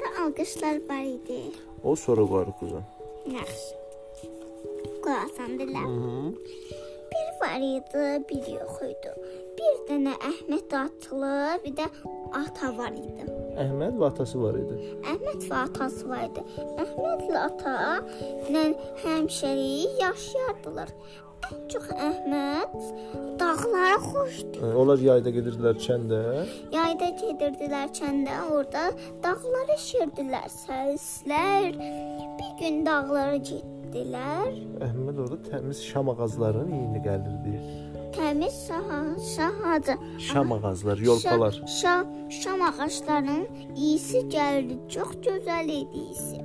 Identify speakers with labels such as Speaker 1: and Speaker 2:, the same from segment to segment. Speaker 1: da alqışlar var idi.
Speaker 2: O soru qoyuruq qızım.
Speaker 1: Yaxşı. Qulaqsan belə.
Speaker 2: Mhm.
Speaker 1: Bir var idi, bir yox idi. Bir dənə Əhməd atlı, bir də ata var idi.
Speaker 2: Əhməd və atası var idi.
Speaker 1: Əhməd və atası var idi. Əhmədlə ata ilə həmşəlik yaşayardılar. Ən çox Əhməd dağlara xoşdu.
Speaker 2: Ə, Onlar yayda gedirdilər kəndə.
Speaker 1: Yayda gedirdilər kəndə, orada dağlara şirdilər, səslər. Bir gün dağlara getdilər.
Speaker 2: Əhməd orada təmiz şam ağaclarının iyini gəlirdi.
Speaker 1: Təmiz saha, sahacı.
Speaker 2: Şam ağacları, yolpalar.
Speaker 1: Şa, şa, şam ağaclarının iyisi gəldi. Çox gözəl idi iyisi.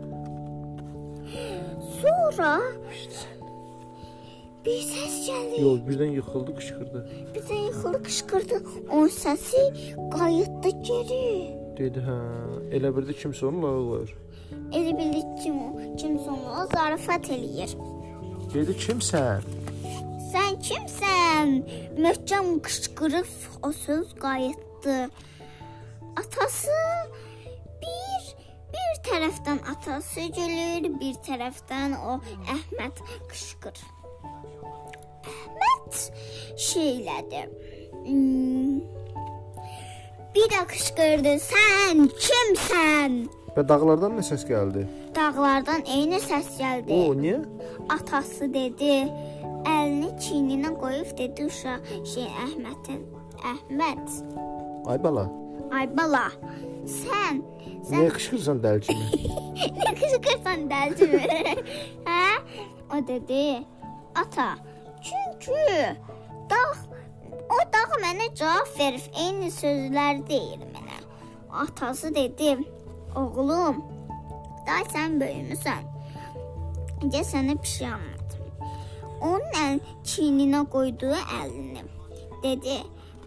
Speaker 1: Sonra bir səs gəldi.
Speaker 2: Yox, birdən yıxıldı, qışqırdı.
Speaker 1: Bizə yıxıldı, qışqırdı. Onun səsi qayıtdı geri.
Speaker 2: Dedi, hə, elə bildi kimsə onu lağa qoyur.
Speaker 1: Elə bildik ki, o- kimsə ona zarafat eləyir.
Speaker 2: Dedi, kimsən?
Speaker 1: Sən kimsən? Möhkəm qışqırıb o söz qayıtdı. Atası bir bir tərəfdən atası gəlir, bir tərəfdən o Əhməd qışqır. Əhməd şeylədi. Hmm, Bir də qışqırdı. Sən kimsən?
Speaker 2: Və dağlardan nə səs gəldi?
Speaker 1: Dağlardan eyni səs gəldi.
Speaker 2: O, niyə?
Speaker 1: atası dedi. Əlini çiyninə qoyub dedi uşaq şey Əhmədin. Əhməd,
Speaker 2: Ay bala,
Speaker 1: ay bala, sən
Speaker 2: niyə
Speaker 1: sən
Speaker 2: qışqırsan dəli kimi?
Speaker 1: nə qışqırsan dəlcimi? hə? O dedi. Ata, çünki dağ o dağ mənə cavab verir, eyni sözləri deyir mənə. Atası dedi. Oğlum, day sən böyümüsən. Gəl sənə bir şey anlatım. Onun əl çiyninə qoyduğu əlini. Dedi: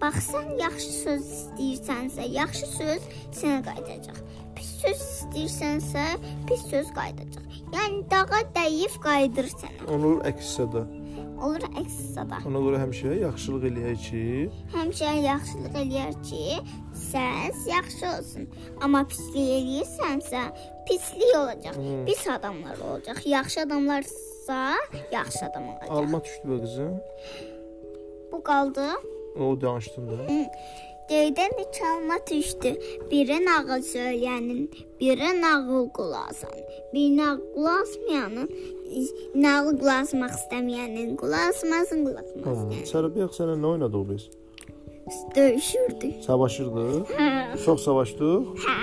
Speaker 1: "Bax sən yaxşı söz istəyirsənsə, yaxşı söz sənə qayıdacaq. Pis söz istəyirsənsə, pis söz qayıdacaq. Yəni dağa dəyib qayıdır sənə."
Speaker 2: Onun əksində də.
Speaker 1: Olur əks səbəb.
Speaker 2: Ona görə həmişə yaxşılıq eləyək ki,
Speaker 1: Həmişə yaxşılıq eləyər ki, səs yaxşı olsun. Amma pislik eləyirsənsə, pislik olacaq.
Speaker 2: Hmm.
Speaker 1: Pis adamlar olacaq. Yaxşı adamlarsa, yaxşı adam olacaq.
Speaker 2: alma düşdü bə qızım.
Speaker 1: Bu qaldı.
Speaker 2: O danışdın da.
Speaker 1: Göydən üç alma düşdü. Biri nağıl söyləyənin, biri nağıl qulağın. Bir nağıl qulaq asmayanın, nağıl qulaq asmaq istəməyənin qulaq asmasın, qulaq
Speaker 2: Hə,
Speaker 1: asmasın.
Speaker 2: Sərbəx sənə nə oynadıq biz?
Speaker 1: Döyüşürdük.
Speaker 2: Savaşırdıq.
Speaker 1: Hə,
Speaker 2: Çox savaşdıq.
Speaker 1: hə,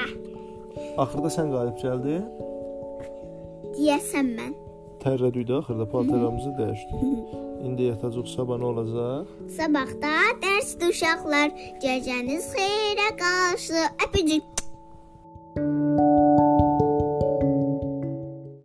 Speaker 2: Axırda sən qalib gəldin.
Speaker 1: deyəsən mən.
Speaker 2: Tərrədüydə axırda paltarlarımızı dəyişdik. İndi yatacaq sabah nə olacaq?
Speaker 1: Sabahda dərsdə uşaqlar, gecəniz xeyrə qalsın. Öpücük.